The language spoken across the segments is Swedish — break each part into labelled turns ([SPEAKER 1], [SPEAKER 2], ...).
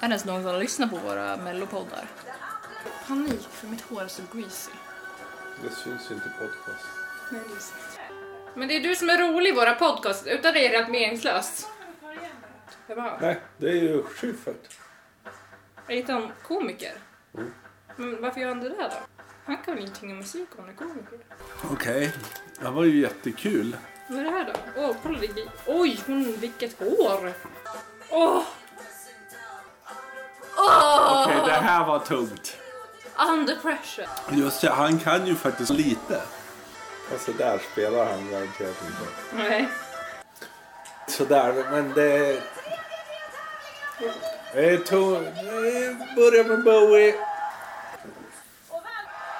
[SPEAKER 1] Är det ens någon som har lyssnat på våra mellopoddar? Panik för mitt hår är så greasy.
[SPEAKER 2] Det syns inte i podcast.
[SPEAKER 1] Men det är du som är rolig i våra podcast. Utan dig är det helt meningslöst. Jag bara,
[SPEAKER 2] Nej, det är ju Schyffert.
[SPEAKER 1] är inte han komiker?
[SPEAKER 2] Mm.
[SPEAKER 1] Men varför gör han det där då? Han kan väl ingenting om musik om han är komiker?
[SPEAKER 2] Okej. Det var ju jättekul.
[SPEAKER 1] Vad är det här då? Åh, kolla det gri- Oj, hon, vilket hår! Åh! Åh!
[SPEAKER 2] Okej, det här var tungt.
[SPEAKER 1] Under pressure.
[SPEAKER 2] Just det, han kan ju faktiskt lite. Alltså där spelar han garanterat inte.
[SPEAKER 1] Nej.
[SPEAKER 2] Sådär, men det... Det är tungt. Börja med Bowie.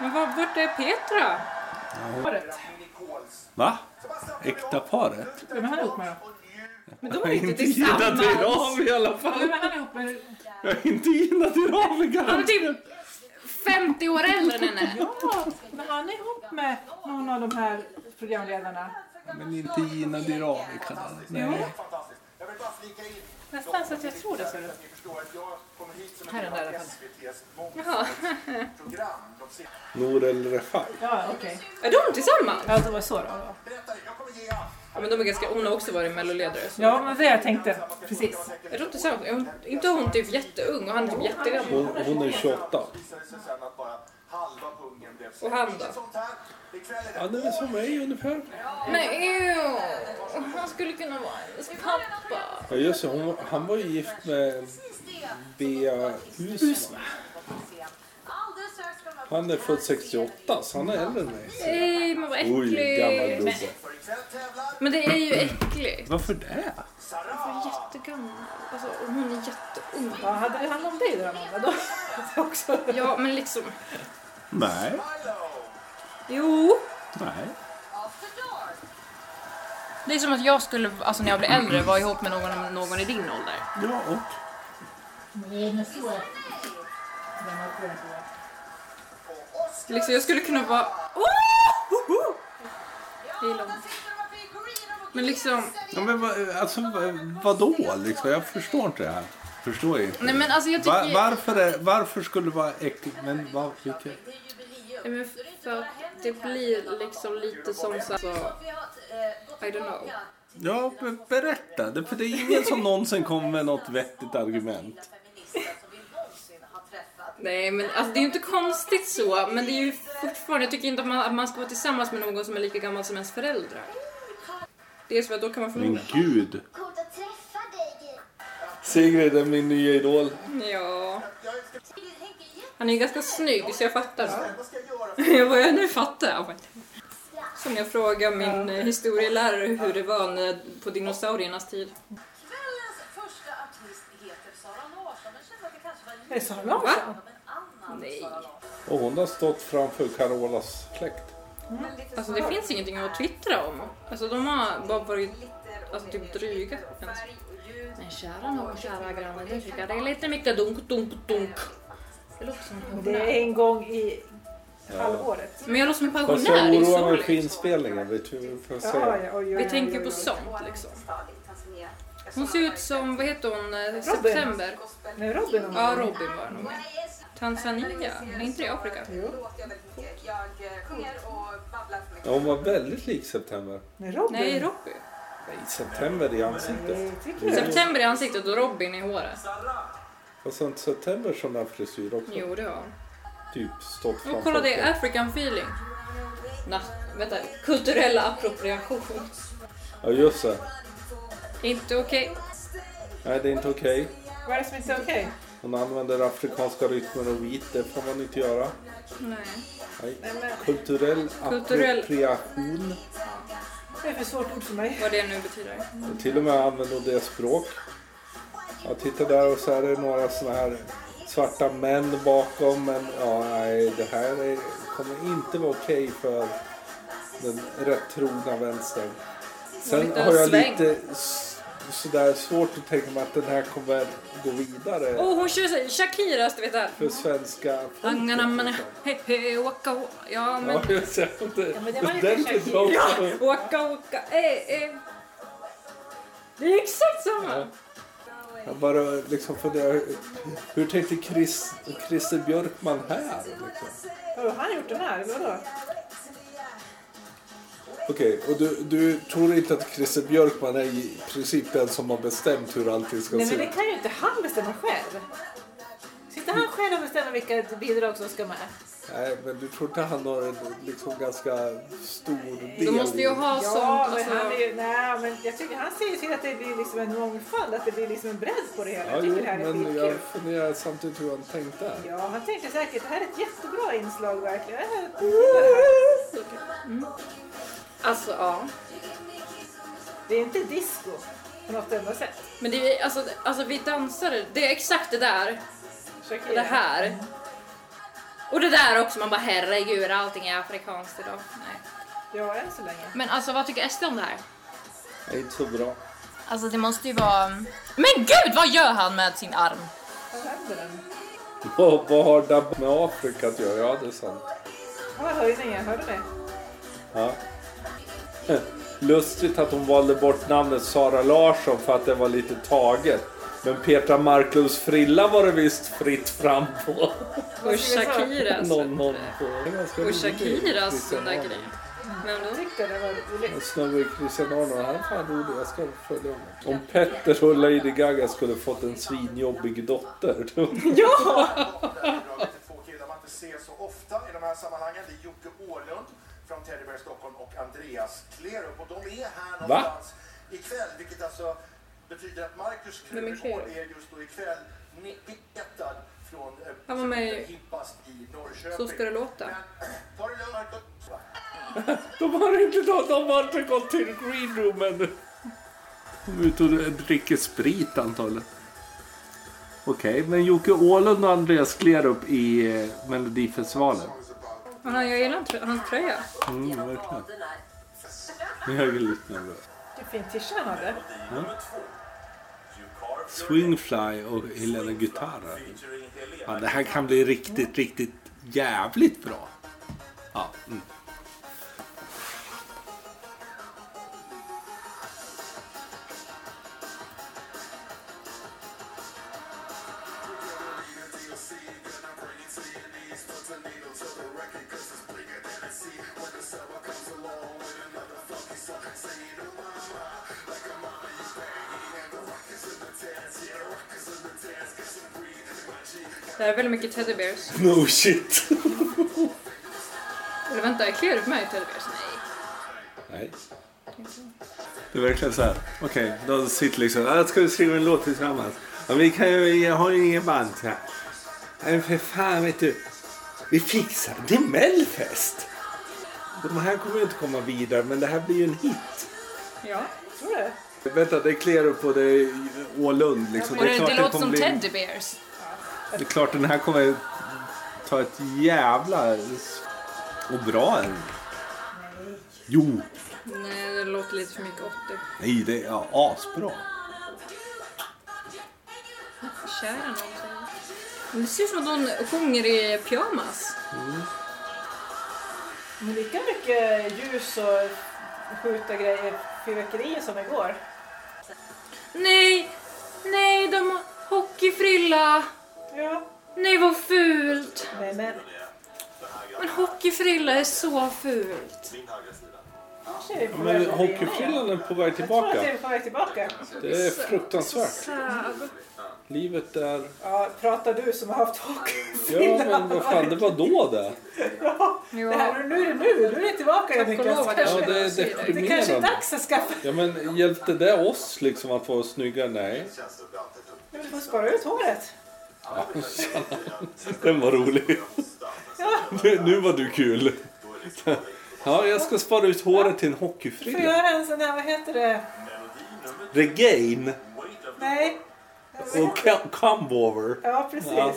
[SPEAKER 1] Men var, vart är Petra? Håret.
[SPEAKER 2] Va? Äkta paret?
[SPEAKER 3] Vem är han ihop med då?
[SPEAKER 1] Men de är inte
[SPEAKER 2] Gina
[SPEAKER 1] tillsammans.
[SPEAKER 2] Tiravi i alla fall.
[SPEAKER 3] Vem är han ihop med?
[SPEAKER 2] Jag är inte Gina Tiravi
[SPEAKER 1] Han är
[SPEAKER 2] garanterat.
[SPEAKER 1] typ 50 år äldre än henne.
[SPEAKER 3] Ja, men han är ihop med någon av de här programledarna.
[SPEAKER 2] Men inte Gina Tiravi kan han. Nej.
[SPEAKER 3] Jo.
[SPEAKER 4] Fantastiskt. Jag vill bara flika in.
[SPEAKER 3] Nästan så att jag tror det. Ser du.
[SPEAKER 4] Ni förstår att jag kommer hit som en
[SPEAKER 1] Här är den där
[SPEAKER 4] del
[SPEAKER 1] i
[SPEAKER 4] av
[SPEAKER 1] alla
[SPEAKER 4] SVTs
[SPEAKER 1] Jaha.
[SPEAKER 4] program. De ser...
[SPEAKER 2] Nour El Refai.
[SPEAKER 3] Ja, okej.
[SPEAKER 1] Är de tillsammans?
[SPEAKER 3] Ja, det var så då.
[SPEAKER 4] Berätta, jag kommer ge allt.
[SPEAKER 1] Ja, men de är ganska, hon har också varit melloledare. så-
[SPEAKER 3] Ja, men det jag tänkte. Precis.
[SPEAKER 1] Är de tillsammans? Är hon, inte hon typ jätteung och han är typ jättegammal?
[SPEAKER 2] Hon, hon är 28.
[SPEAKER 4] Visade det sig sen att bara halva pungen blev
[SPEAKER 1] Och han då?
[SPEAKER 4] Sånt här, ikväll är det.
[SPEAKER 2] Ja, det är som mig ungefär.
[SPEAKER 1] Men ew! Han skulle kunna vara hennes pappa.
[SPEAKER 2] Ja, just det. Hon, han var ju gift med Bea Husman. Han är född 68, så han är äldre än mig.
[SPEAKER 1] Nej, men vad
[SPEAKER 2] Oj, gammal
[SPEAKER 1] äckligt.
[SPEAKER 2] gubbe.
[SPEAKER 4] För ikväll tävlar
[SPEAKER 1] Men det är ju äckligt.
[SPEAKER 2] Varför det?
[SPEAKER 4] Sara.
[SPEAKER 1] Jättegammal. Alltså, och hon är jätteung.
[SPEAKER 3] Ja, hade det handlat om dig då, Amanda? Då också.
[SPEAKER 1] Ja, men liksom.
[SPEAKER 2] Nej,
[SPEAKER 1] Jo.
[SPEAKER 2] nej.
[SPEAKER 1] Det är som att jag skulle, alltså när jag blir äldre, vara ihop med någon, någon i din ålder.
[SPEAKER 2] Ja, och?
[SPEAKER 1] Liksom, jag skulle kunna vara... Oh! Det är långt. Men liksom...
[SPEAKER 2] Ja, men vad, alltså, vad- vadå liksom? Jag förstår inte det här. Förstår jag inte.
[SPEAKER 1] Nej men alltså jag tycker...
[SPEAKER 2] Va- varför, är, varför skulle det vara äckligt? Men vad, vilket?
[SPEAKER 1] Nej, men för att det blir liksom lite som så så... I don't know.
[SPEAKER 2] Ja, be- berätta. Det, för det är ingen som någonsin kommer med något vettigt argument.
[SPEAKER 1] Nej men alltså det är ju inte konstigt så, men det är ju fortfarande... Jag tycker inte att man, att man ska vara tillsammans med någon som är lika gammal som ens föräldrar. Det är så att då kan man
[SPEAKER 2] Men
[SPEAKER 1] förmodligen...
[SPEAKER 2] gud.
[SPEAKER 5] Coolt att träffa dig, Gry.
[SPEAKER 2] Sigrid är min nya idol.
[SPEAKER 1] Ja.
[SPEAKER 5] Sigrid Henke,
[SPEAKER 1] Han är ju ganska snygg, så jag fattar nog.
[SPEAKER 4] Vad ska jag göra?
[SPEAKER 1] Jag bara, nu fattar jag. Som jag frågade min eh, historielärare hur det var när, på dinosauriernas tid.
[SPEAKER 6] Kvällens första artist heter Sara Larsson, men kände att det kanske var
[SPEAKER 3] Är det Sara
[SPEAKER 1] Va? Alltså,
[SPEAKER 3] Larsson?
[SPEAKER 6] av en annan
[SPEAKER 1] Nej.
[SPEAKER 6] Sara Larsson.
[SPEAKER 2] Och hon har stått framför Carolas släkt.
[SPEAKER 1] Alltså det finns ingenting att twittra om. Alltså de har bara varit alltså, typ dryga.
[SPEAKER 6] Färg och ljud.
[SPEAKER 1] Men kära någon, kära granne, du tycker det är lite mycket dunk, dunk, dunk. Jag låter som en
[SPEAKER 3] Det
[SPEAKER 1] pensionär.
[SPEAKER 3] är en gång i halvåret.
[SPEAKER 1] Men jag låter som en
[SPEAKER 2] Fast
[SPEAKER 1] pensionär, det
[SPEAKER 2] jag
[SPEAKER 1] är liksom
[SPEAKER 2] oroar mig för
[SPEAKER 1] sorgligt.
[SPEAKER 2] inspelningen. Vet du vad jag
[SPEAKER 3] Ja,
[SPEAKER 2] säger?
[SPEAKER 3] ja, oj, oj,
[SPEAKER 1] Vi
[SPEAKER 3] oj,
[SPEAKER 1] tänker
[SPEAKER 3] oj,
[SPEAKER 1] på
[SPEAKER 3] oj.
[SPEAKER 1] sånt liksom.
[SPEAKER 6] Tanzania.
[SPEAKER 1] Hon ser ut som, vad heter hon, eh, September?
[SPEAKER 3] Nej, Robin och
[SPEAKER 1] Ja, Robin var det nog med. Tanzania, är inte det i Afrika?
[SPEAKER 6] Låter jag väldigt mycket. Jag eh, sjunger och babblar för mycket.
[SPEAKER 2] Ja, hon var väldigt lik September.
[SPEAKER 3] Nej, Robin.
[SPEAKER 1] Nej, Robbie.
[SPEAKER 2] Nej, September i ansiktet.
[SPEAKER 3] tycker du?
[SPEAKER 1] September i ansiktet och Robin i håret.
[SPEAKER 2] Och sen September som har frisyr också.
[SPEAKER 1] Jo, det har hon.
[SPEAKER 2] Typ stått
[SPEAKER 1] Och
[SPEAKER 2] framför.
[SPEAKER 1] kolla det,
[SPEAKER 2] folk.
[SPEAKER 1] African feeling. Na, vänta, kulturella appropriation.
[SPEAKER 2] Ja, just det.
[SPEAKER 1] Inte okej.
[SPEAKER 2] Nej, det är inte okej.
[SPEAKER 3] Vad är det som inte är okej?
[SPEAKER 2] Hon använder afrikanska rytmer och vit. Det får man inte göra.
[SPEAKER 1] Nej.
[SPEAKER 2] Nej. Kulturell
[SPEAKER 1] Kulturell-
[SPEAKER 2] appropriation.
[SPEAKER 3] Det är för svårt ord för mig.
[SPEAKER 1] Vad det nu betyder.
[SPEAKER 2] Och till och med använder hon det språk. Ja, titta där och så är det några såna här svarta män bakom. Men ja, nej, det här är, kommer inte vara okej för den rätt trogna vänstern. Sen
[SPEAKER 1] liten
[SPEAKER 2] har jag
[SPEAKER 1] sväng.
[SPEAKER 2] lite s- sådär svårt att tänka mig att den här kommer gå vidare
[SPEAKER 3] Oh.
[SPEAKER 1] Åh, hon kör såhär Shakiras, du vet där.
[SPEAKER 2] för svenska folket.
[SPEAKER 1] Anganamana,
[SPEAKER 2] liksom.
[SPEAKER 1] hej hej, waka waka. Ja, men
[SPEAKER 2] Ja, jag ser inte.
[SPEAKER 3] men det var ju
[SPEAKER 2] Den
[SPEAKER 3] kanske-
[SPEAKER 2] är också.
[SPEAKER 1] waka waka, eh eh. Det är exakt samma.
[SPEAKER 2] Ja. Jag bara liksom funderar, hur tänkte Chris, Christer Björkman här? Liksom?
[SPEAKER 3] Har han gjort den här? Eller vadå?
[SPEAKER 2] Okej, och du, du tror inte att Christer Björkman är i princip den som har bestämt hur allting ska
[SPEAKER 3] Nej
[SPEAKER 2] se
[SPEAKER 3] men det
[SPEAKER 2] ut?
[SPEAKER 3] kan ju inte han bestämma själv. Sitter han själv och bestämmer vilka bidrag som ska med?
[SPEAKER 2] Nej, men du tror inte han har en liksom ganska stor del
[SPEAKER 1] De måste ju
[SPEAKER 2] i-
[SPEAKER 1] ha sånt.
[SPEAKER 3] Ja, men
[SPEAKER 1] alltså,
[SPEAKER 3] han är ju, nej, men jag tycker han ser ju till att det blir liksom en mångfald, att det blir liksom en bredd på det hela.
[SPEAKER 2] Ja,
[SPEAKER 3] Jag
[SPEAKER 2] jo,
[SPEAKER 3] tycker det här är
[SPEAKER 2] men
[SPEAKER 3] skitkul.
[SPEAKER 2] jag funderar samtidigt hur han tänkte.
[SPEAKER 3] Ja, han tänkte säkert det här är ett jättebra inslag verkligen. Det här-
[SPEAKER 1] alltså ja.
[SPEAKER 3] Det är inte disco på något enda sätt.
[SPEAKER 1] Men det är, alltså, alltså vi dansare, det är exakt det där.
[SPEAKER 3] Shakira.
[SPEAKER 1] Och det här. Och det där också, man bara herregud allting är afrikanskt idag. Nej.
[SPEAKER 3] Ja, än så länge.
[SPEAKER 1] Men alltså vad tycker SD om det här?
[SPEAKER 2] Det är inte så bra.
[SPEAKER 1] Alltså det måste ju vara... Men gud vad gör han med sin arm?
[SPEAKER 3] Vad händer den?
[SPEAKER 2] Vad, vad har det med Afrika att göra? Ja, det är sant.
[SPEAKER 3] Ja, höjningen, hörde ni?
[SPEAKER 2] Ja. Lustigt att hon valde bort namnet Sara Larsson för att det var lite taget. Men Petra Marklunds frilla var det visst fritt fram på.
[SPEAKER 1] Och Shakiras.
[SPEAKER 2] Någon, någon på. Det är ganska
[SPEAKER 1] Alltså. Och
[SPEAKER 2] roligt.
[SPEAKER 1] Shakiras
[SPEAKER 2] Christian
[SPEAKER 1] sån där
[SPEAKER 2] Arnold.
[SPEAKER 1] grej. Men då...
[SPEAKER 3] Jag tyckte det var roligt.
[SPEAKER 2] En snubbe i Christian Arnold, han är fan rolig. Jag ska följa honom. Om Petter och Lady Gaga skulle fått en svinjobbig dotter.
[SPEAKER 4] bidraget till två killar man inte ser så ofta i de här sammanhangen. Det är Jocke Åhlund från Teddy Bear Stockholm och Andreas Klerup. Och de är här någonstans ikväll, vilket alltså betyder att Marcus
[SPEAKER 1] Vem är
[SPEAKER 4] Krunegård
[SPEAKER 1] Klerup?
[SPEAKER 4] är just då ikväll petad från eh,
[SPEAKER 1] Han var med i
[SPEAKER 4] Hippast i Norrköping.
[SPEAKER 1] Så ska det låta.
[SPEAKER 4] Men, ta det lugnt. va?
[SPEAKER 2] De har inte, de, de har inte gått till green room ännu. De är ute och dricker sprit antagligen. Okej, men Jocke Åhlund och Andreas Klerup i eh, Melodifestivalen.
[SPEAKER 1] Men han- jag gillar hans trö- hans tröja.
[SPEAKER 2] Mm, verkligen. Jag är lite nervös.
[SPEAKER 3] Vilken fin tisha han hade.
[SPEAKER 2] Swingfly och Helena Guitarra. Ja, det här kan bli riktigt, riktigt jävligt bra. Ja, mm.
[SPEAKER 1] Det här är väldigt mycket teddybears.
[SPEAKER 2] No shit.
[SPEAKER 1] Eller vänta, är Klerup med i teddybears? Nej.
[SPEAKER 2] Nej. Det är verkligen så här. Okej, de sitter liksom. Ja, ska vi skriva en låt tillsammans? Ja, vi kan ju, jag har ju ingen band så här. Nej, men för fan vet du. Vi fixar det. Det är Melfest. De här kommer ju inte komma vidare, men det här blir ju en hit.
[SPEAKER 1] Ja.
[SPEAKER 3] Tror du?
[SPEAKER 2] Vänta, det är Klerup och det är Ålund. Liksom.
[SPEAKER 1] Och det,
[SPEAKER 2] klart
[SPEAKER 1] det låter
[SPEAKER 2] kommer
[SPEAKER 1] som
[SPEAKER 2] bli-
[SPEAKER 1] teddybears.
[SPEAKER 2] Det är klart den här kommer ta ett jävla... Och bra en. Jo,
[SPEAKER 1] Nej, det låter lite för mycket 80.
[SPEAKER 2] nej, det är ja, asbra.
[SPEAKER 1] Kära någon. Men Det ser ut som att någon sjunger i pyjamas.
[SPEAKER 3] Men lika mycket ljus och skjuta grejer, fyrverkerier som igår.
[SPEAKER 1] Nej! Nej, de har hockeyfrilla!
[SPEAKER 3] Ja.
[SPEAKER 1] Nej, vad fult!
[SPEAKER 3] Nej men,
[SPEAKER 1] Men hockeyfrilla är så fult.
[SPEAKER 3] kanske är vi på
[SPEAKER 2] Men
[SPEAKER 3] väg att bli-
[SPEAKER 2] hockeyfrillan är på väg
[SPEAKER 3] Jag tror att det
[SPEAKER 2] tillbaka.
[SPEAKER 3] är på väg tillbaka.
[SPEAKER 2] Det är fruktansvärt.
[SPEAKER 1] Sad.
[SPEAKER 2] Livet är...
[SPEAKER 3] Ja, pratar du som har haft
[SPEAKER 2] Ja,
[SPEAKER 3] hockeyfrillan.
[SPEAKER 2] men vad fan, det var då det.
[SPEAKER 1] Ja.
[SPEAKER 3] Det här, nu är det nu, nu är det tillbaka
[SPEAKER 1] Tack och
[SPEAKER 3] Jannike.
[SPEAKER 1] lov att jag
[SPEAKER 2] Ja,
[SPEAKER 1] slipper
[SPEAKER 2] det är
[SPEAKER 1] se det.
[SPEAKER 3] Det kanske är
[SPEAKER 2] deprimerande.
[SPEAKER 3] dags att skaffa...
[SPEAKER 2] Ja, men hjälpte det oss liksom att vara snygga? Nej.
[SPEAKER 3] Jag vill få spara ut håret.
[SPEAKER 2] Den var rolig.
[SPEAKER 3] Ja,
[SPEAKER 2] Nu, nu var du kul. Ja, jag ska spara ut håret till en
[SPEAKER 3] får
[SPEAKER 2] hockeyfrilla.
[SPEAKER 3] göra en sån där, vad heter det?
[SPEAKER 2] Regain
[SPEAKER 3] Nej.
[SPEAKER 2] och ca- comeover.
[SPEAKER 3] Ja, precis.
[SPEAKER 2] Ja.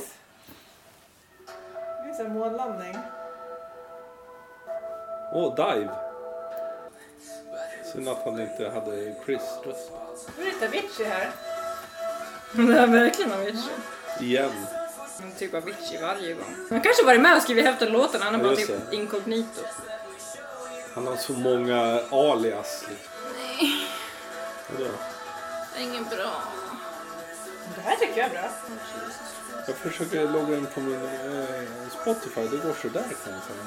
[SPEAKER 3] Det är så här månlandning.
[SPEAKER 2] Åh, dive. Synd att han inte hade Chris röst.
[SPEAKER 3] Nu är det inte Avicii här.
[SPEAKER 1] Det är verkligen Avicii.
[SPEAKER 2] Igen.
[SPEAKER 1] Men Typ Avicii varje gång. Han kanske varit med och skrivit hälften av låtarna, han är bara
[SPEAKER 2] Just
[SPEAKER 1] typ
[SPEAKER 2] det.
[SPEAKER 1] inkognito.
[SPEAKER 2] Han har så många alias. Nej. Vadå?
[SPEAKER 1] Ingen bra.
[SPEAKER 3] Det här tycker jag är bra.
[SPEAKER 2] Jag försöker logga in på min eh, Spotify. Det går sådär kan jag säga.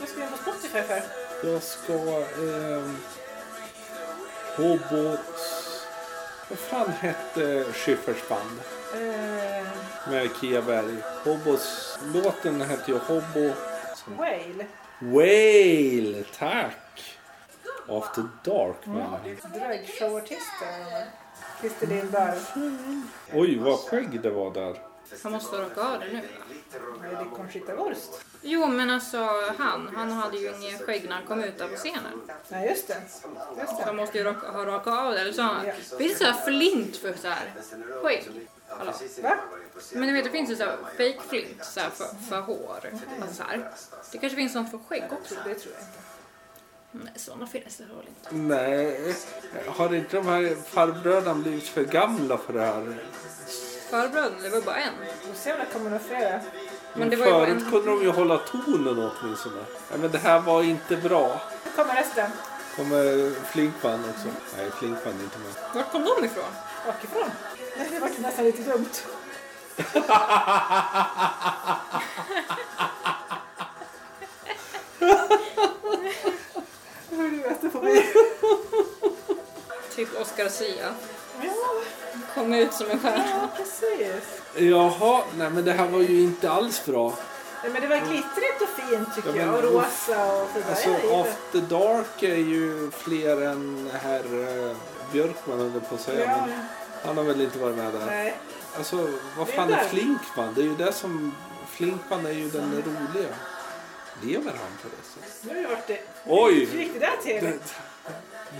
[SPEAKER 3] Vad ska vi ha på Spotify för?
[SPEAKER 2] Jag ska... Eh, Hobots... Vad fan hette Schyfferts band?
[SPEAKER 3] Eh,
[SPEAKER 2] Med Kia Berg. Hobos... Låten hette ju Hobo...
[SPEAKER 3] Whale.
[SPEAKER 2] Whale! Tack! After Dark man.
[SPEAKER 3] Dragshowartist eller vad? Christer Lindberg.
[SPEAKER 2] Oj, vad skägg det var där.
[SPEAKER 1] Han måste raka av det nu.
[SPEAKER 3] Med Conchita Wurst.
[SPEAKER 1] Jo, men alltså han. Han hade ju inget skägg när han kom ut där på scenen.
[SPEAKER 3] Nej, just det. Just
[SPEAKER 1] Så han
[SPEAKER 3] det.
[SPEAKER 1] måste ju raka, ha rakat av det. Eller så har han... Finns det så här flint för så här skägg? Hallå?
[SPEAKER 3] Va?
[SPEAKER 1] Men du vet, det finns ju så här fake flint så här för, för hår. Alltså så här. Det kanske finns sånt för skägg också. Mm,
[SPEAKER 3] Det tror jag inte.
[SPEAKER 1] Nej, såna finns det väl inte.
[SPEAKER 2] Nej, har inte de här farbröderna blivit för gamla för det här?
[SPEAKER 1] Farbröderna, det var bara en.
[SPEAKER 3] Vi får se om det kommer några fler.
[SPEAKER 1] Men det var ju bara
[SPEAKER 2] Förut
[SPEAKER 1] en.
[SPEAKER 2] kunde de ju hålla tonen åtminstone. Nej, men det här var inte bra.
[SPEAKER 3] Nu kommer resten.
[SPEAKER 2] Kommer Flinkman också? Nej, Flinkman är inte med.
[SPEAKER 1] Vart kom de ifrån?
[SPEAKER 3] Bakifrån. Nej, det vart nästan lite dumt. Hur du äter på mig.
[SPEAKER 1] Typ Oscar Sia.
[SPEAKER 3] Ja,
[SPEAKER 1] Kom ut som en stjärna.
[SPEAKER 3] ja, precis.
[SPEAKER 2] Jaha, nej men det här var ju inte alls bra.
[SPEAKER 3] Nej, men det var glittrigt och fint tycker
[SPEAKER 2] Ja, men-
[SPEAKER 3] jag. Och rosa och sådär.
[SPEAKER 2] Alltså,
[SPEAKER 3] Jag gillar det.
[SPEAKER 2] After Dark är ju fler än herr eh, Björkman höll jag på att säga.
[SPEAKER 3] Ja,
[SPEAKER 2] Men han har väl inte varit med där.
[SPEAKER 3] nej.
[SPEAKER 2] Alltså, vad
[SPEAKER 3] Det är
[SPEAKER 2] fan är
[SPEAKER 3] där.
[SPEAKER 2] Flinkman? Det är ju det som... Flinkman är ju den roliga. Lever han på det sättet?
[SPEAKER 3] Nu har jag varit det. Hur
[SPEAKER 2] Oj!
[SPEAKER 3] gick det där till?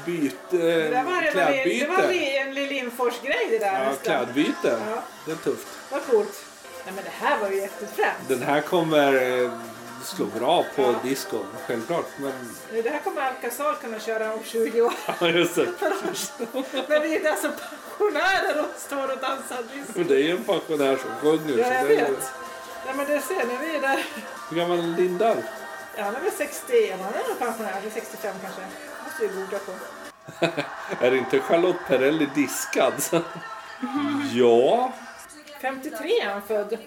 [SPEAKER 2] Byte...
[SPEAKER 3] Det där var, redan, det var
[SPEAKER 2] Klädbyte.
[SPEAKER 3] en Lill Lindfors-grej det där
[SPEAKER 2] Ja,
[SPEAKER 3] nästan.
[SPEAKER 2] klädbyte.
[SPEAKER 3] Ja.
[SPEAKER 2] Det är tufft.
[SPEAKER 3] Vad coolt. Nej, men det här var ju jättefränt.
[SPEAKER 2] Den här kommer eh, slå bra på
[SPEAKER 3] Ja.
[SPEAKER 2] discon, självklart. Men
[SPEAKER 3] Nu, Det här kommer Alcazar kunna köra om 20 år.
[SPEAKER 2] Ja, just det.
[SPEAKER 3] När vi är där som pensionärer och står och dansar disco.
[SPEAKER 2] Men det är ju en pensionär som sjunger.
[SPEAKER 3] Ja, jag
[SPEAKER 2] så det är,
[SPEAKER 3] vet. Nej, men det ser ni. Vi är där.
[SPEAKER 2] hur gammal är Linda?
[SPEAKER 3] Ja, han är väl 60. Han är nog pensionär. Eller 65 kanske. måste vi googla på.
[SPEAKER 2] Är inte Charlotte Perrelli diskad? ja.
[SPEAKER 3] 53 är han född.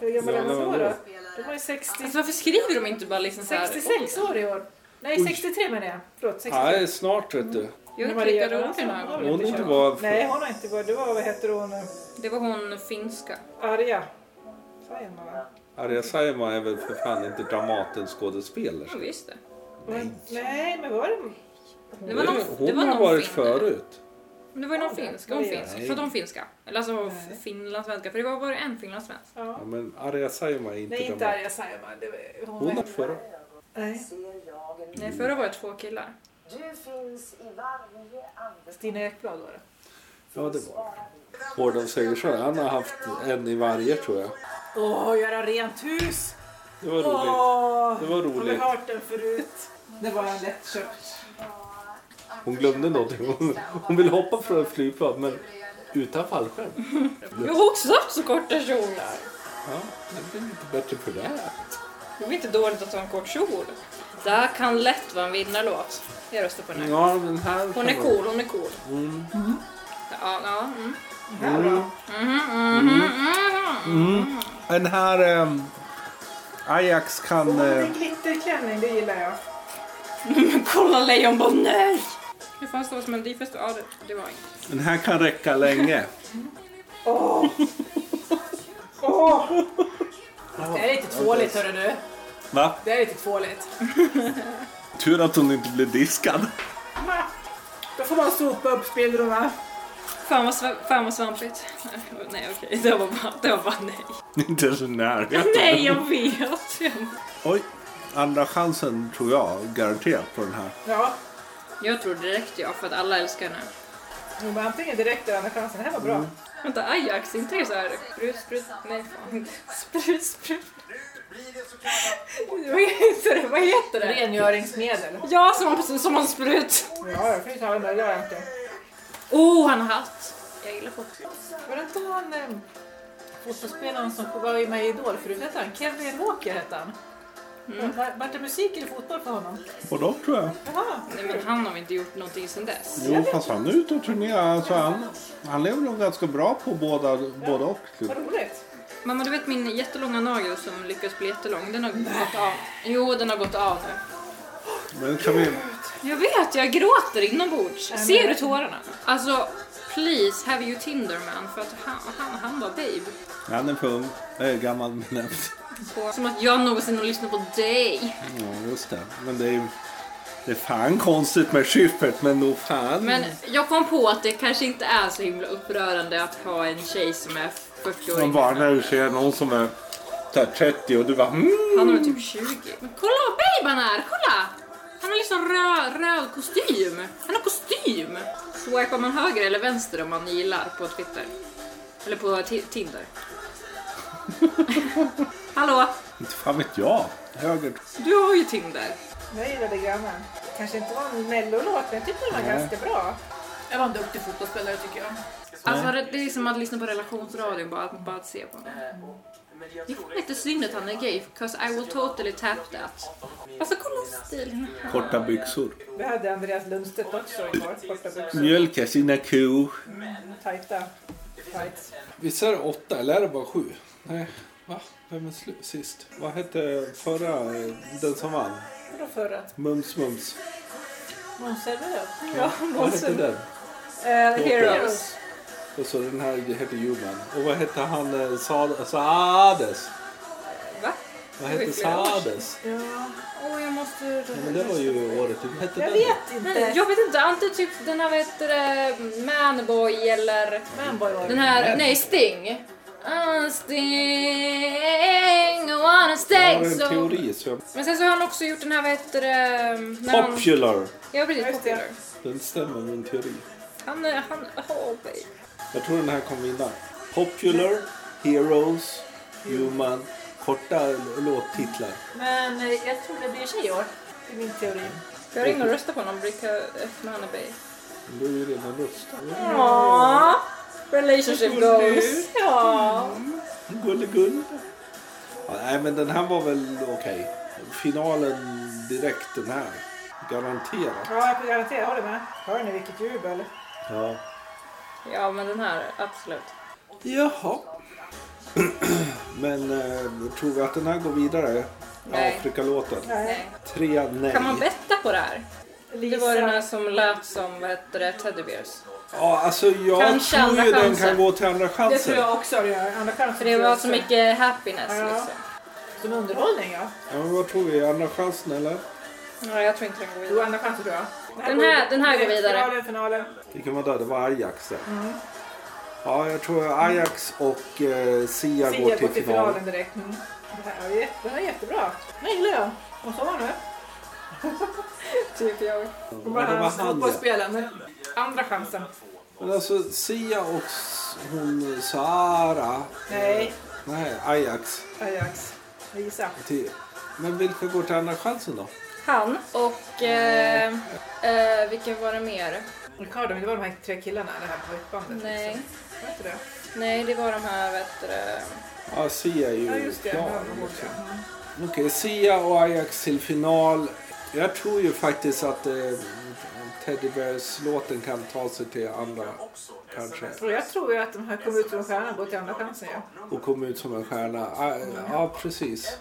[SPEAKER 3] Hur gammal är han då? då? De var ju 60,
[SPEAKER 1] Alltså, varför skriver de inte bara liksom så här?
[SPEAKER 3] 66 år i år. Nej,
[SPEAKER 2] Oj.
[SPEAKER 3] 63 menar jag. Förlåt, 63.
[SPEAKER 2] Nej, snart vet du.
[SPEAKER 1] Jag har inte
[SPEAKER 3] Maria
[SPEAKER 1] klickat runt
[SPEAKER 3] Johansson,
[SPEAKER 1] den här
[SPEAKER 3] hon har
[SPEAKER 1] gången.
[SPEAKER 2] Hon
[SPEAKER 3] inte
[SPEAKER 2] inte
[SPEAKER 3] kört.
[SPEAKER 2] var...
[SPEAKER 3] Nej, hon har inte varit. Det var, vad heter hon,
[SPEAKER 1] Det var hon finska.
[SPEAKER 3] Arja. Saijonmaa, va?
[SPEAKER 2] Arja Saijonmaa är väl för fan inte Dramatenskådespelerska.
[SPEAKER 1] Ja, visst det.
[SPEAKER 3] Men- Nej, men var det...
[SPEAKER 1] Det var någon,
[SPEAKER 2] hon
[SPEAKER 1] det var
[SPEAKER 2] har
[SPEAKER 1] någon
[SPEAKER 2] varit
[SPEAKER 1] fin-
[SPEAKER 2] förut.
[SPEAKER 1] Men Det var ju någon
[SPEAKER 3] Ja, det-
[SPEAKER 1] finsk. Hon
[SPEAKER 3] det är-
[SPEAKER 1] finsk. Pratar hon finska? Eller alltså
[SPEAKER 3] Nej.
[SPEAKER 1] finlandssvenska. För det var bara en finlandssvensk.
[SPEAKER 3] Ja.
[SPEAKER 2] Ja, men Arja Saijonmaa är inte
[SPEAKER 3] Nej, inte
[SPEAKER 2] Dramaten.
[SPEAKER 3] Arja Saijonmaa. det var-
[SPEAKER 2] Hon har
[SPEAKER 3] var-
[SPEAKER 2] förra.
[SPEAKER 3] Nej.
[SPEAKER 2] Mm.
[SPEAKER 1] Nej, förra var det två killar.
[SPEAKER 7] Du finns i varje andetag.
[SPEAKER 3] Stina Ekblad var det.
[SPEAKER 2] Ja, det var det. Hård av Segersson. Han har haft en i varje tror jag.
[SPEAKER 3] Åh, göra rent hus!
[SPEAKER 2] Det var roligt.
[SPEAKER 3] Åh,
[SPEAKER 2] Det var roligt.
[SPEAKER 3] Har vi hört den förut? Det var en lättköpt.
[SPEAKER 2] Hon glömde någonting. Hon, hon ville hoppa från ett flygplan men utan fallskärm.
[SPEAKER 1] Jag har också haft så korta kjolar.
[SPEAKER 2] Ja, det blir inte bättre för det.
[SPEAKER 1] Det är inte dåligt att ha en kort kjol. Det här kan lätt vara en vinnarlåt. Jag röstar på den här.
[SPEAKER 2] Ja, Mm. den här kan
[SPEAKER 1] Hon är
[SPEAKER 2] vara-
[SPEAKER 1] cool, hon är cool.
[SPEAKER 3] Mm.
[SPEAKER 1] Ja, ja. Mm.
[SPEAKER 2] Mm. Mm. Den här ehm, Ajax kan...
[SPEAKER 3] Åh, det
[SPEAKER 2] eh,
[SPEAKER 3] är glitterklänning, det gillar jag.
[SPEAKER 1] Men kolla lejonbarn, nej! Hur fan står det som en difestival? Ja, det, det var inget.
[SPEAKER 2] den här kan räcka länge.
[SPEAKER 3] Åh! Åh! Det är lite tvåligt, hörru du.
[SPEAKER 2] Va?
[SPEAKER 3] Det är lite tvåligt.
[SPEAKER 2] Tur att hon inte blev diskad.
[SPEAKER 3] Då får man sopa upp spillrorna.
[SPEAKER 1] Fan vad, sva- fan vad svampigt. Nej okej, det var bara, det var bara nej.
[SPEAKER 2] inte ens i närheten.
[SPEAKER 1] Nej jag vet! Jag-
[SPEAKER 2] Oj. Andra chansen tror jag garanterat på den här.
[SPEAKER 3] Ja,
[SPEAKER 1] Jag tror direkt ja, för att alla älskar henne.
[SPEAKER 3] jo, men antingen direkt eller andra chansen. Det här var bra.
[SPEAKER 1] Vänta, Ajax, inte det så här sprut, sprut, nej fan. Sprut, sprut.
[SPEAKER 4] Blir det så kallat
[SPEAKER 1] Vad heter det? Vad heter det?
[SPEAKER 3] Rengöringsmedel.
[SPEAKER 1] Ja, som, som en sprut.
[SPEAKER 3] Ja, jag finns alla möjliga egentligen.
[SPEAKER 1] Oh, han har hatt. Jag gillar fotboll.
[SPEAKER 3] Var det inte han eh, fotbollsspelaren som var med i Idol förut? Hette han Kevin Walker? Hette han. Var- Vart det musik eller fotboll för honom?
[SPEAKER 2] Och då tror jag.
[SPEAKER 3] Jaha.
[SPEAKER 1] Nej, men han har inte gjort någonting sedan dess.
[SPEAKER 2] Jo, fast han är ute och turnerar. Alltså, han, han lever nog ganska bra på båda, båda och. Typ.
[SPEAKER 3] Vad roligt.
[SPEAKER 1] Mamma, du vet min jättelånga nagel som lyckas bli jättelång? Den har gått av. Jo, den har gått av nu.
[SPEAKER 2] Men kan vi...
[SPEAKER 1] Jag vet, jag gråter inombords. Ser du tårarna? Alltså, please have you Tinder man. För att han, han, han var babe.
[SPEAKER 2] Han är för ung. Äh, gammal benämnt.
[SPEAKER 1] Så, som att jag någonsin har lyssnat på dig.
[SPEAKER 2] Ja, just det. Men det är ju... Det är fan konstigt med Schyffert, men nog fan.
[SPEAKER 1] Men jag kom på att det kanske inte är så himla upprörande att ha en tjej som är 40 år
[SPEAKER 2] Som bara när du ser någon som är så här 30 och du bara mm.
[SPEAKER 1] Han är väl typ 20. Men kolla vad babe han är! Kolla! Han har liksom röd, röd kostym. Han har kostym! Swipar man höger eller vänster om man gillar på Twitter? Eller på Ti- Tinder? Hallå?
[SPEAKER 2] Inte fan vet jag. Höger.
[SPEAKER 1] Du har ju Tinder.
[SPEAKER 3] Jag gillade grannen. Kanske inte var en mellolåt men jag tyckte den var
[SPEAKER 2] Nej.
[SPEAKER 3] ganska bra.
[SPEAKER 8] Jag var en duktig fotbollsspelare tycker jag.
[SPEAKER 1] Alltså det det är som att lyssna på relationsradion bara, bara att se på honom. Det är fan lite synd att han är gay, 'cause I will totally tap that. Alltså kolla stilen.
[SPEAKER 2] Korta byxor.
[SPEAKER 3] Det hade Andreas Lundstedt också igår. Korta byxor.
[SPEAKER 2] Mjölka sina kor.
[SPEAKER 3] Tajta. Tights.
[SPEAKER 2] Visst är det åtta eller är det bara sju? Nej, va? Vem är slu- sist? Vad hette förra, eh, den som vann?
[SPEAKER 3] Vadå förra?
[SPEAKER 2] Mums Mums.
[SPEAKER 3] Måns Zelmerlöw? Ja,
[SPEAKER 2] Vad
[SPEAKER 3] Måns
[SPEAKER 2] hette den?
[SPEAKER 3] Eh, Heroes.
[SPEAKER 2] Och så den här hette Human. Och vad hette han? eh, Sa- Saades?
[SPEAKER 1] Va?
[SPEAKER 2] Vad
[SPEAKER 1] Det var
[SPEAKER 2] hette
[SPEAKER 1] ju flera år sedan.
[SPEAKER 2] Saades?
[SPEAKER 3] Ja.
[SPEAKER 1] Åh, jag måste...
[SPEAKER 2] Ja, men det var ju året. Hur hette
[SPEAKER 3] Jag
[SPEAKER 2] den?
[SPEAKER 3] vet
[SPEAKER 1] Nej,
[SPEAKER 3] inte.
[SPEAKER 1] jag vet inte, antingen typ den här vad heter det, Manboy eller
[SPEAKER 3] Manboy var
[SPEAKER 1] den
[SPEAKER 3] det.
[SPEAKER 1] här, nej Sting. Ah, Sting, I wanna
[SPEAKER 2] Jag har
[SPEAKER 1] sting
[SPEAKER 2] en
[SPEAKER 1] so.
[SPEAKER 2] teori. Så jag...
[SPEAKER 1] Men sen så har han också gjort den här vad heter det, när han,
[SPEAKER 2] Popular.
[SPEAKER 1] Ja precis,
[SPEAKER 3] Just det.
[SPEAKER 1] Popular.
[SPEAKER 2] Den stämmer min teori.
[SPEAKER 1] Han, är- han, oh, babe.
[SPEAKER 2] Jag tror den här kommer vinna. Popular, Heroes, Human. Korta l- låttitlar.
[SPEAKER 3] Men eh, jag tror det blir tjej i år. Det är min teori.
[SPEAKER 1] Jag ringer och röstar på honom, eh, brukar öppna han är babe.
[SPEAKER 2] Men Du är ju redan röstad.
[SPEAKER 1] Aww, relationship goals. Mm. Ja.
[SPEAKER 2] Gulligull. Ja, nej, men den här var väl okej. Finalen direkt den här. Garanterat.
[SPEAKER 3] Ja, jag kan garantera. Jag håller med. Hör ni vilket jubel?
[SPEAKER 2] Ja.
[SPEAKER 1] Ja men den här, absolut.
[SPEAKER 2] Jaha. men eh, tror vi att den här går vidare?
[SPEAKER 1] Nej.
[SPEAKER 2] Afrikalåten.
[SPEAKER 3] Nej.
[SPEAKER 2] Tre nej.
[SPEAKER 1] Kan man betta på det här? Det
[SPEAKER 3] Lisa.
[SPEAKER 1] var den här som lät som, vad heter det, Teddy Bears.
[SPEAKER 2] Ja, alltså jag
[SPEAKER 1] Kanske
[SPEAKER 2] tror
[SPEAKER 1] andra
[SPEAKER 2] ju den
[SPEAKER 1] chansen.
[SPEAKER 2] kan gå till andra chansen.
[SPEAKER 3] Det tror jag också det gör. Andra chansen.
[SPEAKER 1] För det
[SPEAKER 3] tror jag
[SPEAKER 1] var
[SPEAKER 3] också.
[SPEAKER 1] så mycket happiness
[SPEAKER 3] Ja.
[SPEAKER 1] liksom.
[SPEAKER 3] Som underhållning ja.
[SPEAKER 2] Ja, men vad tror vi? Andra chansen eller?
[SPEAKER 1] Nej, jag tror inte den går
[SPEAKER 3] Jo,
[SPEAKER 1] vidare.
[SPEAKER 3] andra chansen tror jag.
[SPEAKER 1] Den här- den här går vidare.
[SPEAKER 3] Finalen, finalen.
[SPEAKER 2] Vilken var det? Det var Ajax där. Ja, jag tror Ajax och eh, Sia,
[SPEAKER 3] Sia
[SPEAKER 2] går till final.
[SPEAKER 3] finalen direkt. Mm. Det här var jätte- Den här är jättebra. Den gillar jag. Vad sa hon nu?
[SPEAKER 1] Typ jag.
[SPEAKER 3] Hon
[SPEAKER 2] Ja,
[SPEAKER 3] var
[SPEAKER 2] det var
[SPEAKER 3] hans
[SPEAKER 2] han ja.
[SPEAKER 3] fotbollsspelare. Andra chansen.
[SPEAKER 2] Men alltså Sia och s- hon Sara.
[SPEAKER 3] Nej,
[SPEAKER 2] Nej, Ajax.
[SPEAKER 3] Ajax. Lisa.
[SPEAKER 2] Till. Men vilka går till andra chansen då?
[SPEAKER 1] Han och... Eh, eh, vilka var det mer?
[SPEAKER 3] Ricardo, men det var de här tre killarna, det här pojkbandet.
[SPEAKER 1] Nej.
[SPEAKER 3] liksom. Vet du det?
[SPEAKER 1] Nej, det var de här, vet du det,
[SPEAKER 2] Ja, Sia är ju
[SPEAKER 3] Ja, just det.
[SPEAKER 2] klar.
[SPEAKER 3] Ja, de åkte. Mm.
[SPEAKER 2] Okej, Sia och Ajax till final. Jag tror ju faktiskt att eh, Teddy Bears-låten kan ta sig till andra kanske.
[SPEAKER 3] Och jag tror ju att de här kom ut från stjärnan och går till andra chansen ju.
[SPEAKER 2] Och kom ut som en stjärna. Ah, ja, precis.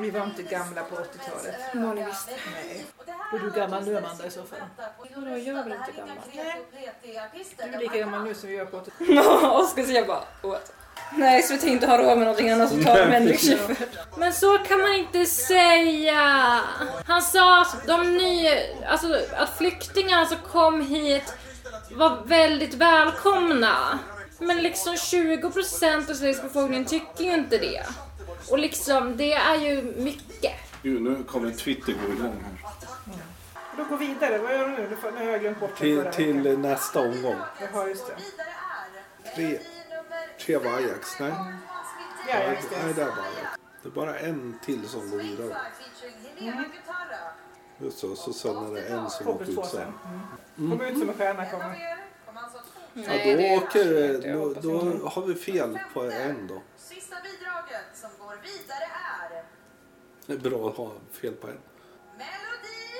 [SPEAKER 3] Vi var inte gamla på 80-talet.
[SPEAKER 1] Vad ni visste.
[SPEAKER 3] Nej. Och du är gammal nu Amanda i så fall?
[SPEAKER 1] Vadå, jag är väl inte gammal?
[SPEAKER 3] Du är lika gammal nu som vi gör på 80-talet.
[SPEAKER 1] Oskar ser bara what? Nej, SVT inte har råd med någonting annat så tar de
[SPEAKER 2] Nej,
[SPEAKER 1] Henrik
[SPEAKER 2] precis.
[SPEAKER 1] Schyffert. Men så kan man inte säga! Han sa att de nya, alltså att flyktingarna som kom hit var väldigt välkomna. Men liksom 20% av Sveriges befolkning tycker ju inte det. Och liksom, det är ju mycket.
[SPEAKER 2] Jo, nu kommer Twitter gå igång här.
[SPEAKER 3] Då går vi vidare. Vad gör du nu? Du får- Nu har jag glömt bort den
[SPEAKER 2] Till,
[SPEAKER 3] förra
[SPEAKER 2] till
[SPEAKER 3] veckan.
[SPEAKER 2] eh, nästa omgång.
[SPEAKER 3] Jaha, just det.
[SPEAKER 2] Tre, tre var Ajax. Nej,
[SPEAKER 3] Ja, just
[SPEAKER 2] nej
[SPEAKER 3] det.
[SPEAKER 2] där var Ajax. Det är bara en till som går vidare. Just så, så sen är det en som
[SPEAKER 3] Kommer
[SPEAKER 2] åker
[SPEAKER 3] två
[SPEAKER 2] ut
[SPEAKER 3] sen.
[SPEAKER 2] sen.
[SPEAKER 3] Mm. Kommer ut som en stjärna kommer.
[SPEAKER 2] Ja,
[SPEAKER 1] Nej, det är-
[SPEAKER 2] då, åker,
[SPEAKER 1] jag
[SPEAKER 2] då,
[SPEAKER 1] hoppas
[SPEAKER 2] då har vi fel på en då.
[SPEAKER 6] Sista bidraget som går vidare är
[SPEAKER 2] Det är bra att ha fel på en.
[SPEAKER 6] Melodi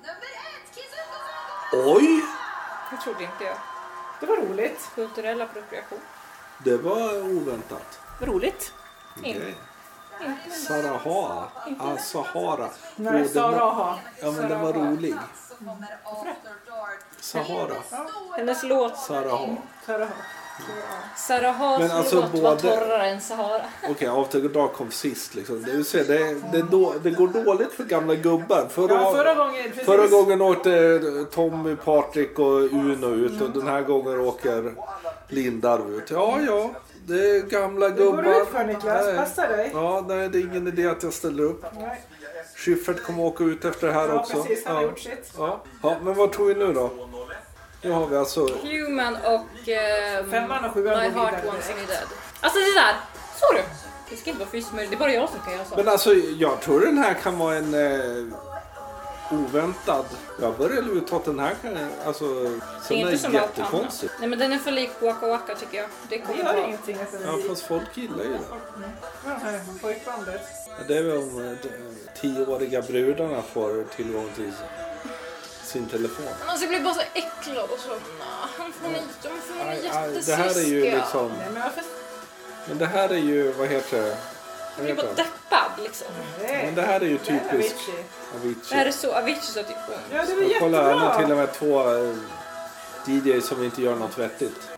[SPEAKER 6] nummer ett, Kiss Ulfsson!
[SPEAKER 2] Oj!
[SPEAKER 3] Det trodde inte jag.
[SPEAKER 8] Det var roligt.
[SPEAKER 3] Kulturell appropriation.
[SPEAKER 2] Det var oväntat.
[SPEAKER 8] Roligt.
[SPEAKER 2] Okej. Ah, Saraha. Al-Sahara.
[SPEAKER 3] När
[SPEAKER 2] Åh, den var-
[SPEAKER 3] Saraha.
[SPEAKER 2] Ja, men den var
[SPEAKER 3] Saraha.
[SPEAKER 2] rolig.
[SPEAKER 6] Så kommer After Dark.
[SPEAKER 2] Sahara.
[SPEAKER 3] Hennes låt
[SPEAKER 2] Saraha.
[SPEAKER 3] Saraha.
[SPEAKER 1] Sarahas
[SPEAKER 2] Men alltså
[SPEAKER 1] låt var
[SPEAKER 2] både-
[SPEAKER 1] torrare än Sahara.
[SPEAKER 2] Okej, After Dark kom sist liksom. Det, vill säga, det, det, då, det går dåligt för gamla gubbar. Förra,
[SPEAKER 3] Ja, förra gången. Precis.
[SPEAKER 2] förra gången åkte eh, Tommy, Patrik och Uno ut och den här gången åker Lindarv ut. Ja, ja. Det är gamla
[SPEAKER 3] Det går
[SPEAKER 2] gubbar.
[SPEAKER 3] du ut för Niklas.
[SPEAKER 2] Nej.
[SPEAKER 3] Passa dig.
[SPEAKER 2] Ja, nej, det är ingen idé att jag ställer upp.
[SPEAKER 3] Nej.
[SPEAKER 2] Schyffert kommer åka ut efter det här
[SPEAKER 3] Ja,
[SPEAKER 2] också.
[SPEAKER 3] precis. Han har
[SPEAKER 2] ja.
[SPEAKER 3] gjort sitt.
[SPEAKER 2] Ja. ja, men vad tror vi nu då? Nu har vi alltså...
[SPEAKER 1] Human och ehm,
[SPEAKER 3] Femman och
[SPEAKER 1] My
[SPEAKER 3] sjuan går
[SPEAKER 1] Heart
[SPEAKER 3] vidare
[SPEAKER 1] Wants Me
[SPEAKER 3] direkt.
[SPEAKER 1] Dead. Alltså det där! Såg du? Det ska inte vara fysiskt möjligt. Det är bara jag som kan göra så.
[SPEAKER 2] Men alltså, jag tror den här kan vara en eh, oväntad... Jag börjar luta åt den här kan... Alltså,
[SPEAKER 1] Det är
[SPEAKER 2] sån
[SPEAKER 1] inte
[SPEAKER 2] är
[SPEAKER 1] som allt annat.
[SPEAKER 2] jättekonstig.
[SPEAKER 1] Nej men den är för lik Waka Waka tycker jag. Det
[SPEAKER 3] Vi
[SPEAKER 1] kommer
[SPEAKER 3] har
[SPEAKER 1] vara...
[SPEAKER 3] ingenting att säga.
[SPEAKER 2] Ja, fast folk gillar ju det.
[SPEAKER 3] Ja, här, Pojkbandet.
[SPEAKER 2] Ja, Det är väl om eh, de tioåriga brudarna får tillgång till sin telefon.
[SPEAKER 1] Men alltså jag blir bara så äcklad och så... nah, Han får mig, de får mig
[SPEAKER 2] Aj, aj, det här är ju
[SPEAKER 1] jättesyskiga.
[SPEAKER 2] liksom...
[SPEAKER 3] Nej, men varför?
[SPEAKER 2] Men det här är ju, vad heter det?
[SPEAKER 1] Jag
[SPEAKER 2] Vad
[SPEAKER 1] blir bara
[SPEAKER 2] heter det?
[SPEAKER 1] deppad liksom.
[SPEAKER 3] Nej.
[SPEAKER 2] Men det här är ju
[SPEAKER 3] Det är
[SPEAKER 2] Mm. typiskt
[SPEAKER 3] Avicii.
[SPEAKER 1] Det här
[SPEAKER 2] Avicii.
[SPEAKER 1] är så Avicii så typ, oh, att det
[SPEAKER 3] Ja, det var
[SPEAKER 2] Och kolla här, nu till
[SPEAKER 3] jättebra.
[SPEAKER 2] och med två eh, DJs som inte gör något vettigt.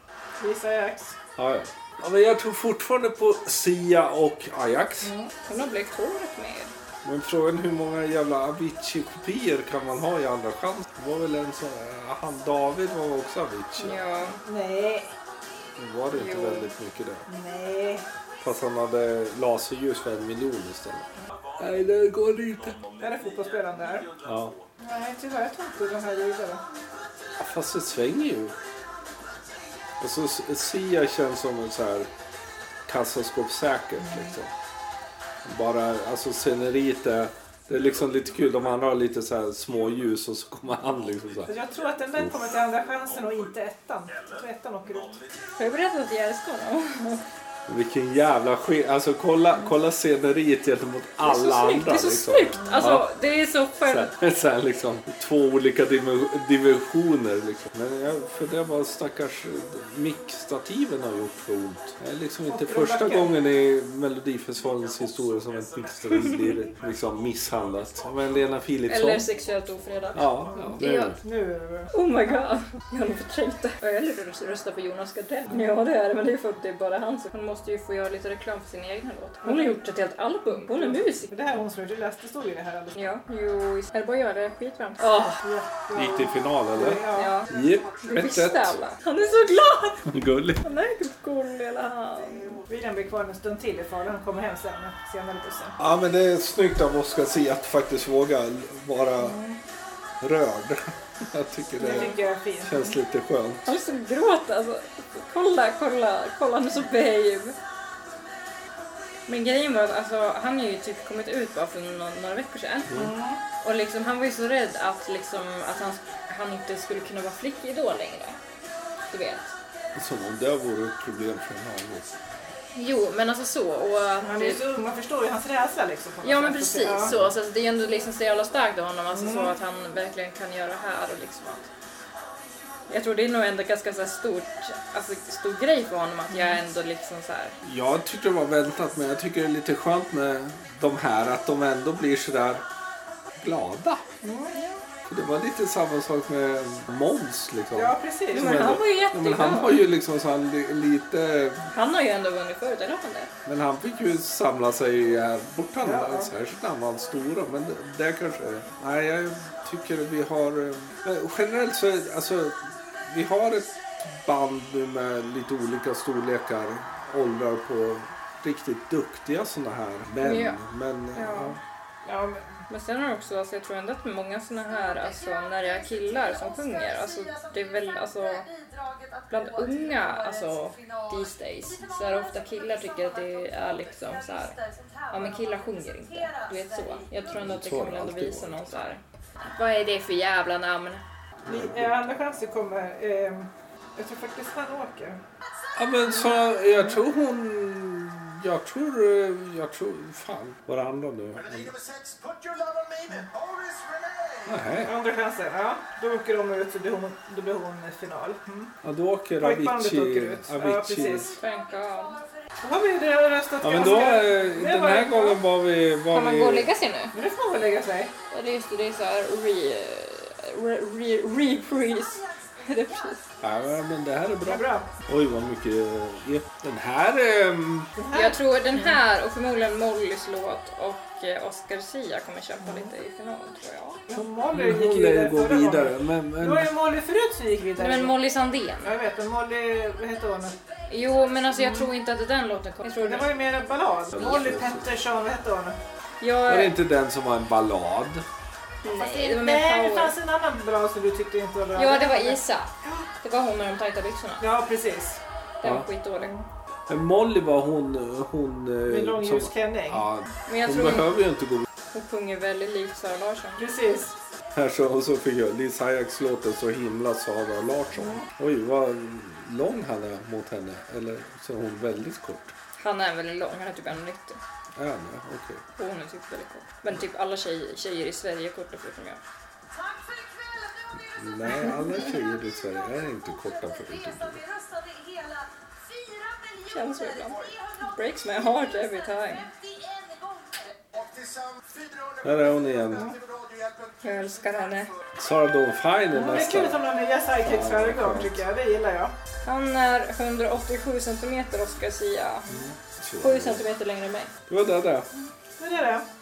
[SPEAKER 3] Lisa Ajax.
[SPEAKER 2] Ja, ja. ja, men jag tror fortfarande på Sia och Ajax.
[SPEAKER 1] Hon har blekt håret med.
[SPEAKER 2] Men frågan är hur många jävla Avicii-kopior kan man ha i Andra chans? Det var väl en sån... eh, Han David var också Avicii.
[SPEAKER 1] Ja.
[SPEAKER 3] Nej,
[SPEAKER 2] Nu var det inte
[SPEAKER 1] Jo.
[SPEAKER 2] väldigt mycket det.
[SPEAKER 3] nej.
[SPEAKER 2] Fast han hade laserljus för en miljon istället. Nej, det går inte.
[SPEAKER 3] Det här är fotbollsspelaren där.
[SPEAKER 2] Ja.
[SPEAKER 3] Nej, tyvärr. Jag tror inte den här gillar
[SPEAKER 2] Fast det svänger ju. Och så S- Sia känns som en så här kassaskåpssäkert liksom. Bara, alltså sceneriet är, det är liksom lite kul. De andra har lite så här små ljus och så kommer han liksom så
[SPEAKER 3] Så
[SPEAKER 2] här.
[SPEAKER 3] Jag tror att den där kommer till andra chansen och inte ettan. Jag tror ettan åker ut.
[SPEAKER 1] Har jag berättat att jag älskar honom?
[SPEAKER 2] Vilken jävla skillnad. Alltså kolla, kolla sceneriet gentemot alla
[SPEAKER 1] det är så snyggt.
[SPEAKER 2] andra.
[SPEAKER 1] Det är så
[SPEAKER 2] liksom.
[SPEAKER 1] snyggt. Alltså,
[SPEAKER 2] Ja.
[SPEAKER 1] det är så
[SPEAKER 2] Så
[SPEAKER 1] skönt.
[SPEAKER 2] här, så här liksom, två olika dimen- dimensioner. Liksom. Men jag funderar vad stackars eh, mickstativen har gjort för ont. Det är liksom inte
[SPEAKER 3] Och
[SPEAKER 2] första
[SPEAKER 3] rullarken.
[SPEAKER 2] gången i Melodifestivalens historia som ett mickstativ blir liksom misshandlat. Men Lena Philipsson.
[SPEAKER 1] Eller sexuellt ofredad.
[SPEAKER 2] Ja, ja.
[SPEAKER 1] Ja.
[SPEAKER 3] Nu är det väl-
[SPEAKER 1] Oh my god, jag hade förträngt det. Jag hellre röst- rösta på Jonas Gardell. Ja det är det, men det är för att det är bara han som... Hon måste ju få göra lite reklam för sin egna låt. Hon har gjort ett helt album. Hon är musiker.
[SPEAKER 3] Men Det här är hon som gjorde det. Läste stod i det här alldeles.
[SPEAKER 1] Ja, jo, är det bara jag? Det är skitvarmt. Oh,
[SPEAKER 2] Gick till final eller?
[SPEAKER 3] Ja.
[SPEAKER 1] ja.
[SPEAKER 2] Japp,
[SPEAKER 1] Det visste
[SPEAKER 2] 1-1.
[SPEAKER 1] alla. Han är så glad!
[SPEAKER 2] Gulligt.
[SPEAKER 1] Han är typ gullig hela han.
[SPEAKER 3] William blir kvar en stund till i Falun. Han kommer hem sen. Senare i bussen.
[SPEAKER 2] Ja men det är snyggt av Oscar C att faktiskt våga vara rörd. Jag tycker
[SPEAKER 3] Det
[SPEAKER 2] det
[SPEAKER 3] tycker jag är fint.
[SPEAKER 2] känns lite skönt.
[SPEAKER 1] Han är så gråt alltså. Kolla, kolla, kolla han är så babe. Men grejen var att alltså, han har ju typ kommit ut bara för några, några veckor sedan. Och liksom, han var ju så rädd att, liksom, att han, han inte skulle kunna vara flickidol längre. Du vet.
[SPEAKER 2] Som om det vore ett problem för en annan.
[SPEAKER 1] Jo, men alltså så. Och att
[SPEAKER 3] Han är ju så ung. Man förstår ju hans rädsla liksom. på något
[SPEAKER 1] Ja men
[SPEAKER 3] sätt.
[SPEAKER 1] precis
[SPEAKER 3] Ja.
[SPEAKER 1] så. så att det är ändå liksom så jävla starkt av honom. Alltså så att han verkligen kan göra här och liksom att... Jag tror det är nog ändå ganska så här stort, alltså stor grej för honom att jag ändå liksom så här.
[SPEAKER 2] Jag tyckte det var väntat men jag tycker det är lite skönt med de här att de ändå blir sådär glada. För Det var lite samma sak med Måns liksom.
[SPEAKER 3] Ja, precis.
[SPEAKER 1] Jo, men han var ju
[SPEAKER 2] Ja, men
[SPEAKER 1] jätteglad.
[SPEAKER 2] han var ju liksom så här li- lite...
[SPEAKER 1] Han har ju ändå vunnit förut, eller har han det?
[SPEAKER 2] Men han fick ju samla sig här borta.
[SPEAKER 3] Ja.
[SPEAKER 2] Särskilt när han var stora. Men det, det kanske... Nej, jag tycker vi har... eh, men Generellt så är- alltså... Vi har ett band nu med lite olika storlekar. Åldrar på riktigt duktiga sådana här män.
[SPEAKER 1] Ja.
[SPEAKER 2] Men, ja.
[SPEAKER 1] Ja.
[SPEAKER 3] Ja, men
[SPEAKER 1] Men sen har jag också, alltså, jag tror ändå att många såna här, alltså när jag killar som sjunger, alltså det är väl, alltså bland unga, alltså these days, så är det ofta killar tycker att det är liksom så här, ja men killar sjunger inte, du vet så. Jag tror ändå att det
[SPEAKER 2] Så har
[SPEAKER 1] kommer
[SPEAKER 2] det
[SPEAKER 1] ändå
[SPEAKER 2] alltid
[SPEAKER 1] visa
[SPEAKER 2] varit.
[SPEAKER 1] någon så här. vad är det för jävla namn?
[SPEAKER 3] Li- eh, Andra chansen kommer. ehm, Jag tror faktiskt han åker.
[SPEAKER 2] ja men så jag tror hon... jag tror... eh, Jag tror... Fan, vad det handlar om nu?
[SPEAKER 4] Melodi nummer sex, Put Your Love On Me med Boris Renee.
[SPEAKER 2] Nej,
[SPEAKER 3] Andra chansen, ja. Då åker de ut och då blir hon, då blir hon final. Mm.
[SPEAKER 2] ja, då åker
[SPEAKER 3] Pojkbandet åker
[SPEAKER 2] Avicii...
[SPEAKER 3] ut. Ja,
[SPEAKER 2] Avicii.
[SPEAKER 3] precis.
[SPEAKER 1] Thank God.
[SPEAKER 3] Då har vi redan röstat
[SPEAKER 2] Ja, men då... eh,
[SPEAKER 3] Det
[SPEAKER 2] Den
[SPEAKER 3] var-
[SPEAKER 2] här gången var vi... Var
[SPEAKER 1] Kan man gå och
[SPEAKER 2] vi
[SPEAKER 1] lägga sig nu?
[SPEAKER 3] Men det får man väl lägga sig.
[SPEAKER 1] Ja, det är just det, det är så här re... re, re reprise. Det är precis.
[SPEAKER 2] ja, men det här är
[SPEAKER 3] Det
[SPEAKER 2] bra.
[SPEAKER 3] är bra.
[SPEAKER 2] Oj, vad mycket... eh, ep- Den här... ehm,
[SPEAKER 1] Jag tror den här och förmodligen Mollys låt och eh, Oscar Sia kommer kämpa lite i final tror jag.
[SPEAKER 3] Men Molly
[SPEAKER 2] Hon
[SPEAKER 3] gick vidare
[SPEAKER 2] lär gå
[SPEAKER 3] förra
[SPEAKER 2] vidare.
[SPEAKER 3] gången.
[SPEAKER 2] Men,
[SPEAKER 3] Det
[SPEAKER 2] men,
[SPEAKER 3] var ju Molly förut som gick vidare.
[SPEAKER 1] Nej, men Molly Sandén.
[SPEAKER 3] Ja, jag vet, men Molly, vad heter hon?
[SPEAKER 1] Jo, men alltså
[SPEAKER 2] Mm.
[SPEAKER 1] jag tror inte att den låten kommer. Jag tror
[SPEAKER 3] Det var ju mer en ballad. Molly Pettersson, vad heter hon?
[SPEAKER 2] var det
[SPEAKER 1] Jag...
[SPEAKER 2] inte den som var en ballad?
[SPEAKER 1] Nej, det var
[SPEAKER 3] Nej,
[SPEAKER 1] mer
[SPEAKER 3] det
[SPEAKER 1] power.
[SPEAKER 3] fanns en annan ballad som du tyckte inte var bra.
[SPEAKER 1] Ja, det var Isa. Det var hon med de tajta byxorna.
[SPEAKER 3] Ja, precis.
[SPEAKER 1] Den var
[SPEAKER 2] Ja.
[SPEAKER 1] skitdålig.
[SPEAKER 2] Men Molly var hon... hon eh,
[SPEAKER 3] Med lång
[SPEAKER 2] som-
[SPEAKER 3] ljus klänning.
[SPEAKER 2] Ja,
[SPEAKER 1] Men jag
[SPEAKER 2] hon
[SPEAKER 1] tror hon,
[SPEAKER 2] behöver ju inte gå
[SPEAKER 1] hon sjunger väldigt likt Sara Larsson.
[SPEAKER 3] Precis.
[SPEAKER 2] Här så, och så fick jag Liz Hayeks låten Så himla Sara Larsson. Oj, vad lång han är mot henne. Eller så är hon väldigt kort.
[SPEAKER 1] Han är väldigt lång, han är typ 1,90.
[SPEAKER 2] Är han det? Okej.
[SPEAKER 1] Och hon är typ väldigt kort. Men typ alla tjejer, tjejer i Sverige är korta förutom jag.
[SPEAKER 6] Tack för ikväll! Nu har ni röstat
[SPEAKER 2] Nej, alla tjejer i Sverige är inte korta förut.
[SPEAKER 6] resan. Vi röstade hela 4
[SPEAKER 1] Känns så
[SPEAKER 6] miljoner
[SPEAKER 1] ibland. Breaks my heart every time.
[SPEAKER 6] 51 gånger.
[SPEAKER 4] Och tillsammans 400
[SPEAKER 2] Där är hon igen.
[SPEAKER 4] till Radiohjälpen.
[SPEAKER 1] Jag älskar henne.
[SPEAKER 2] Sara Dawn Finer
[SPEAKER 3] Ja, det är kul att de
[SPEAKER 2] nästan.
[SPEAKER 3] har nya sidekicks
[SPEAKER 2] Ja,
[SPEAKER 3] varje
[SPEAKER 2] det är
[SPEAKER 3] gång
[SPEAKER 2] skönt.
[SPEAKER 3] tycker jag. Det gillar jag.
[SPEAKER 1] Han är 187 centimeter Oscar Sia. 7 centimeter längre än mig.
[SPEAKER 2] Det var det där.
[SPEAKER 3] Men det är det.